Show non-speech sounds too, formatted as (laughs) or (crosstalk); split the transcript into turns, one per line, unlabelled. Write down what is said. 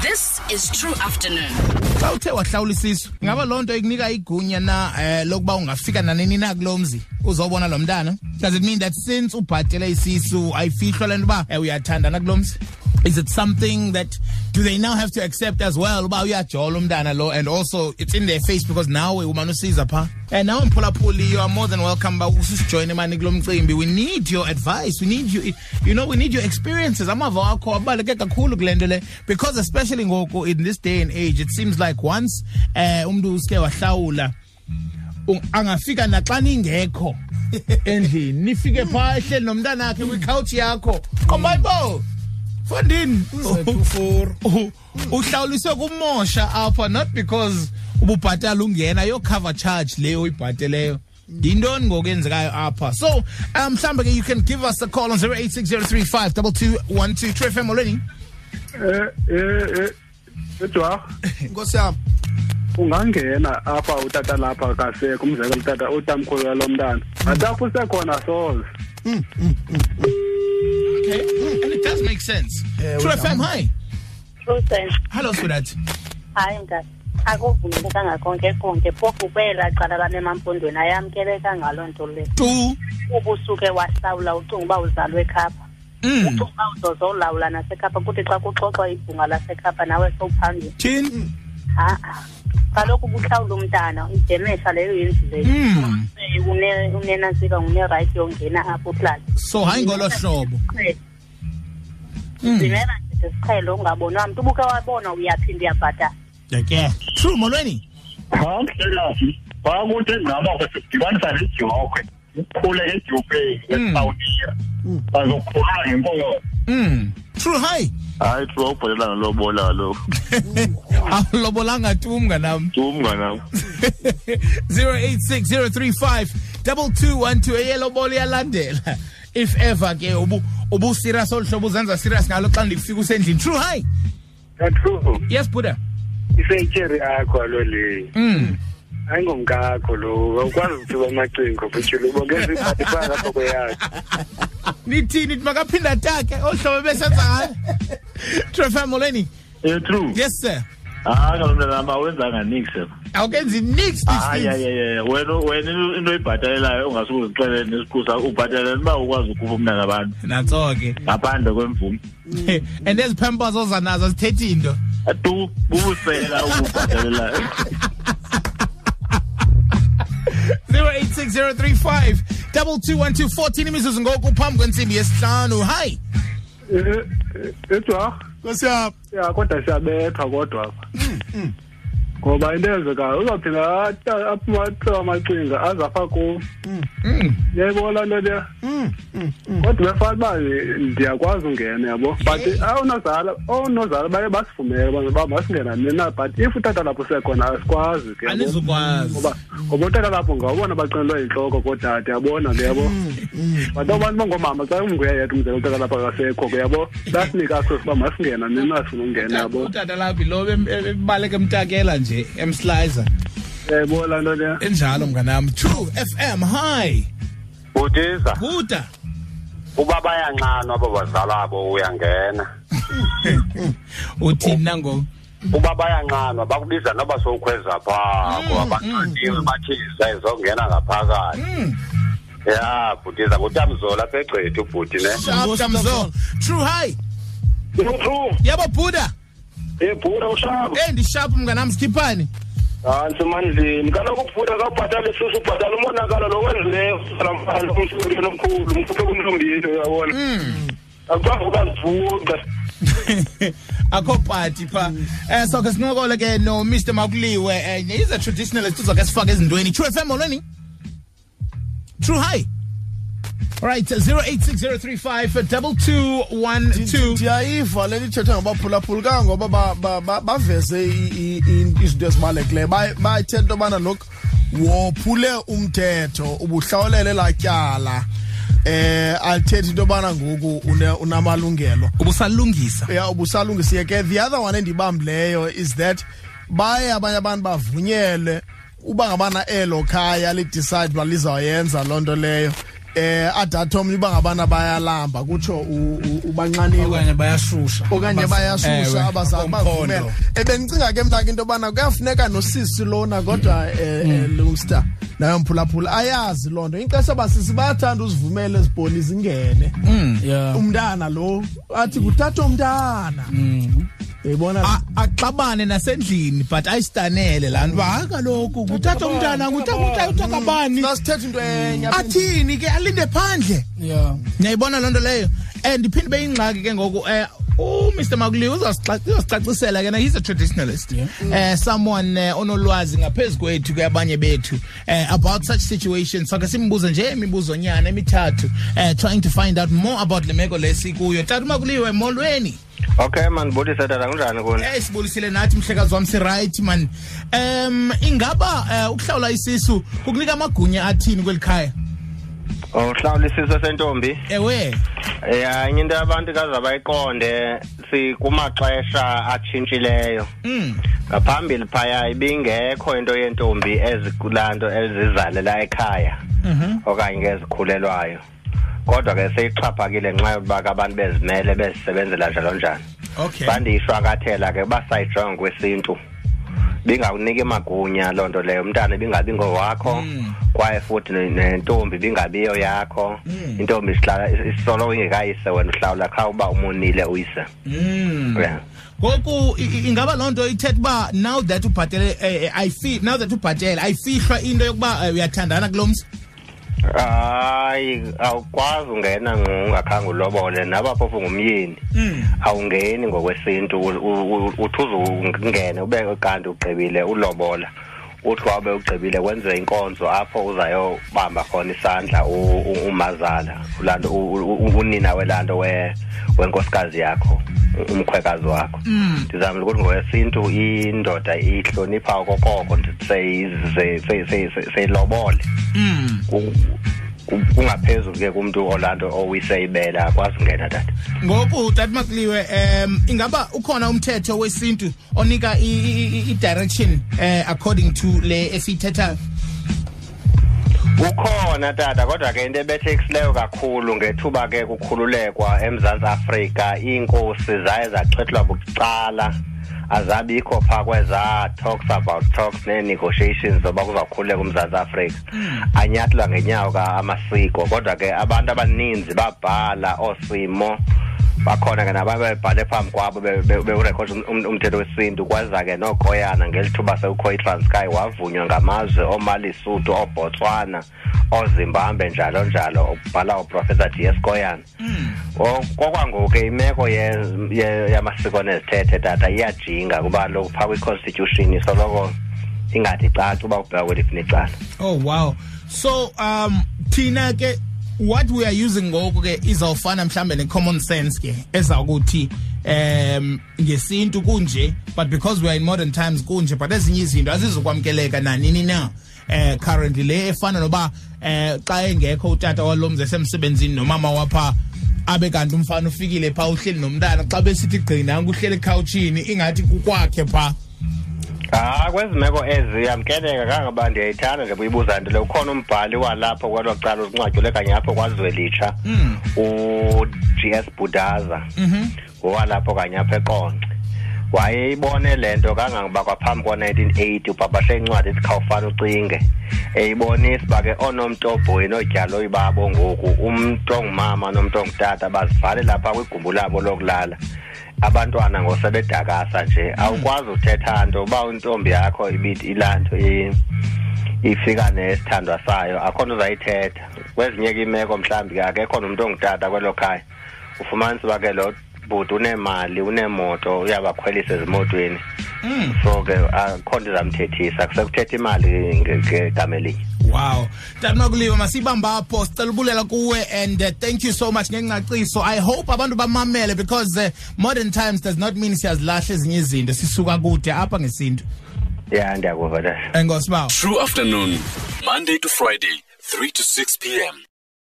This is True Afternoon.
xa uthe wahlawula isisu ingaba loo nto ikunika igunya na um lokuba ungafika nanini na kulo mzi uzobona lo mntana does it mean that since ubhatele isisu ayifihlwa le nto uba eh, uyathandana kulo mzi is it something that do they now have to accept as well uba uyajola umntana lo and also it's in their face because nawe umane usiza phaa and nawe mphulaphuli you are more than welcome uba ususijoyine mani kulo mcimbi we need your advice we need you, you know we need your experiences amava akho abaluleke kakhulu kule nto le because especially ngoku in this day and age it seems like once eh umntu uske wahlawula ung- angafika naxa ningekho endlini nifike phaa ehleli nomntana akhe kwikhawuthi yakho Oh qomayibo fondini (laughs) U- Oh, uhlawuliswe kumosha apha not because ububhatala ungena yo cover charge leyo uyibhateleyo yintoni ngoku enzekayo apha so um, mhlawumbe ke you can give us a call on 086035 2212 true fm already
eh eh eh ejwa
nkosi yam
ungangena apha utata lapha kasekho umzekelo utata utamkhulu walo mntana atakho usekhona soze
okay Mm, and it does make sense
Eh,
true
wena-
fm hi
Susan,
hello sweetheart
hayi mntana akuvumelekanga konke konke phofu kwela cala lamemampondweni ayamkeleka ngaloo nto le
two
kuba usuke wahlawula ucinga uba uzalwe ekhapha
mm.
ucinga uba uzozolawula nasekhapha kuthi xa kuxoxwa ibhunga lasekhapha nawe sowuphambili
tin
ha-a kaloku buhlawula umntana idemesha leyo yenzileyo
mm.
Une- unenantsika unerayithi yongena apho uhlala
so hayi ngolo hlobo Mm.
zimela nje siqhele ungabonwa mntu ubuke wabona uyaphinda uyabhatala
Okay. true molweni
Ngamhlelazi bakuthi ngamafa sidibanisa nejokwe ukhule ejokweni
Mm.
esawuniya bazokhulula ngempoyo
mm. true hi
hayi thiwa ubhalela ngalobola kaloku
(laughs) awulobolanga tu mnganam
tumnganam
(laughs) 0860352212 eyelobolo iyalandela (laughs) if ever ke ubu ubu serious olhlobo uzenza serious ngalo xa ndifika usendlini true hi
kathu
yes buda
isentsheri yakho alo le
mm
ayingomkakho lo awukwazi ukuthiba amacingo futyhulu bonke zibhatiphaa lapho kweyakho
nithini makaphinda atake olhlobo besenza ngayo true fam molweni
Eh true
yes sir
hayi kalo mntanam awenzanga niksi
awukenzi nix
Ah,
hayi ayeyeye wena wena into- into oyibhatalelayo ongasuke uzixelele nesikhusa ubhatalela uba ukwazi ukhupha umntana abantu
natso ke
ngaphandle kwemvume
(laughs) and ezi pampers oza nazo zithethi into
tu bubusela ukubhatalelayo
086035 2212 14 imizuzu ngoku phambi kwentsimbi yesihlanu hayi
ejwa
nkosi yam
ya kodwa siyabethwa kodwa apha ngoba into eyenzekayo uzawuphinda ata- aphume athiwa amacinga aze apha kum
Mm.
yayibona nto leya kodwa befana uba ndiyakwazi ungena yabo but awunozala oonozala baye basivumele bona uba masingena nina but if utata lapho usekhona asikwazi ke yabo.
anizukwazi
ngoba ngoba utata lapho ngawubona baqinelwe yintloko kootata yabona ke yabo but abantu bangoomama xa umnguyayedwa umzekelo utata lapho akasekho ke yabo basinika asos uba masingena nina sifuna ungena yabo
utata laphi lo em- em- ebaleke emtakela nje emsliza
yayibola nto leya
enjalo mnganam true fm hi
Butiza,
buda
uba bayanxanwa abo bazalabo uyangena.
uthini nangoku
Uba bayanxanwa bakubiza noba sowukhweza
Mm,
phako abanxaniwe bathi sayizongena ngaphakathi.
Mm.
Ya, Butiza ngutamzola segqitha ubhuti ne.
Sharp kamzo true hi
Yothu
yabo buda
ebhura ushaba
eh ndishaphu mnganam sikhiphani
hansi mandleni kaloku ukufuna kabhatala isusu ubhatala umonakalo lo wenzileyo salamfana umsebenzini omkhulu umkhuphe kuntombini uyabona akucazi ukazivunca
(laughs) akho pati pha um so ke sincokole ke no mr makuliwe um is a traditionalist uza ke sifake ezintweni true fm molweni true hi right 086035 2212
ndiyayiva le nto ithethwe ngabaphulaphula kangoba ba- ba- ba- baveze i- i- i- izinto ezibalulekileyo Bay- bayithetha into yobana lokhu wophule umthetho ubuhlawulele laa tyala um alithethi into yobana ngoku une- unamalungelo
ubusalungisa
ya ubusalungisiye ke the other one endiyibambileyo is that baye abanye abantu bavunyelwe uba ngabana elo khaya lidicide uba lizawuyenza loo nto leyo eh adatha omnye uba ngabana bayalamba kutsho u- u- ubanxaniwe
okanye bayashusha
okanye bayasusa
Ewe,
abazali bavumela
umkhondo.
Eh, bendicinga ke mna ke into yobana kuyafuneka nosisi lona kodwa eh, eh, lumster nayo mphulaphula ayazi loo nto ixesha basisi bayathanda uzivumela ezibhoni zingene
ya
umntana lo athi kuthatha umntana uyibona
A- axabane nasendlini but ayistanele laa nto uba hayi kaloku kuthatha umntana kuthatha kabani
sithetha into enye apha endlini.
athini ke alinde phandle
ya
niyayibona loo nto leyo and iphinde ibe yingxaki ke ngoku um umr makuliwe uzosixa- uzosicacisela ke na he's a traditionalist um someone eh, onolwazi ngaphezu kwethu ke abanye bethu um about such situations sakhe simbuze nje imibuzo nyana emithathu um trying to find out more about le meko lesikuyo tata umakuliwe molweni
okay mandibulise tata kunjani kuni
Eh sibulisile nathi mhlekazi wam sirayithi man. Em ingaba eh, ukuhlawula isisu kukunika amagunya athini kweli khaya?
uhlawula isiso Oh, sentombi
Ewe.
ya enye into abantu kaze bayiqonde sikumaxesha atshintshileyo
Mm.
ngaphambili phaya ibingekho into yentombi ezikulanto ezizalela ekhaya okanye ke ezikhulelwayo kodwa ke seyixhaphakile ngenxa yokuba ke abantu bezimele bezisebenzela njalo njani
Okay.
bandiyishwakathela ke basayijonga kwesintu bingakuniki magunya loo nto leyo umntana ibingabi ngowakho
Mm.
kwaye futhi ne- nentombi ibingabiyo yakho
Mm.
intombi isihlala isolo ingekayise wena uhlawula qha uba umonile uyise
Mm.
Yeah.
Ngoku i- i- ingaba loo nto ithetha uba now that ubhatele eh, eh, ayifi now that ubhatele ayifihlwa into yokuba eh, uyathandana kulo mzi?
hayi awukwazi ungena ngqo ungakhanga ulobole naba phofu ngumyeni
Mm.
awungeni ngokwesintu u- u- u- uthi uzungene ube kanti ugqibile ulobola uthi wabe ugqibile wenze inkonzo apho uzayobamba khona isandla u- u- umazala laa nto u- u- u- unina welaa nto we- wenkosikazi yakho u- umkhwekazi wakho ndizamile ukuthi ngokwesintu indoda ihlonipha okokoko ndithi seyize- se- se- se- seyilobole Ku- ku- kungaphezulu ke kumntu olaa nto owise ibela akwazi ungena tata
Ngoku tata Makliwe em ingaba ukhona umthetho wesintu onika i- i i- i- direction eh, according to le esithetha
ukhona tata kodwa ke into ebethekileyo kakhulu ngethuba ke kukhululekwa eMzantsi Afrika iinkosi zaye zachithwa bucala azabikho phaa kweza talks about talks nee-negotiations zoba kuzawukhululeka umzantsi afrika anyathulwa ngenyawo ka amasiko kodwa ke abantu abaninzi babhala oosimo bakhona ke nabantu bebhale phambi kwabo be- be- bewurekhoda um- umthetho wesintu kwaza ke nookoyana ngeli thuba sekukho itranskay wavunywa ngamazwe oomalisuthu oobotswana oozimbabwe njalo njalo ubhala uprofessor d s koyana O- kokwangoku ke imeko ye- ye- yamasiko nezithethe tata iyajinga kuba loku phaa kwi-constitution isoloko ingathi caca uba ubheka kwelifini icala
Oh wow. So um thina ke what we are using ngoku ke izawufana mhlambe ne common sense ke ezawukuthi um ngesintu kunje but because we are in modern times kunje but ezinye izinto azizokwamkeleka nanini na eh currently le efana noba eh xa engekho utata walomzi esemsebenzini nomama wapha abe kanti umfana ufikile pha uhleli nomntana xa besithi gcina ukuhleli ekhawutshini ingathi kukwakhe pha
hayi kwezi meko ezi yamkeleka kangoba ndiyayithanda nje buyibuza nto le ukhona umbhali walapho kwelo cala uzincwadyule kanye apho kwazwelitsha u-g s budaza ngowalapho kanye apha eqonce wayeyibone le nto kangangoba kwaphambi ko-1980 upapashe incwadi ethi khawufana ucinge eyibonisa uba ke "Oh, oonomtobhoyi noodyaloyi babo ngoku umntu ongumama nomntu ongutata bazivalela phaa kwigumbu labo lokulala abantwana ngosebedakasa nje awukwazi uthetha nto uba intombi yakho ibithi ilanto i- ifika nesithandwa sayo akho nto uzayithetha kwezinye ke imeko mhlawumbi ke akekho nomntu ongutata kwelo khaya ufumanisa uba ke lo bhuti unemali unemoto uyabakhwelisa ezimotweni so ke akho nto izamthethisa kusekuthetha imali nge- ngegama elinye
Wow. Tatmakuliwe masibamba apho sicela ubulela kuwe and uh, thank you so much ngengcaciso. I hope abantu bamamele because uh, modern times does not mean siyazilahla ezinye izinto sisuka kude apha ngesintu.
ya ndiyakuva tata
Engosibawo.
True Afternoon, Monday to Friday, 3 to 6 p.m.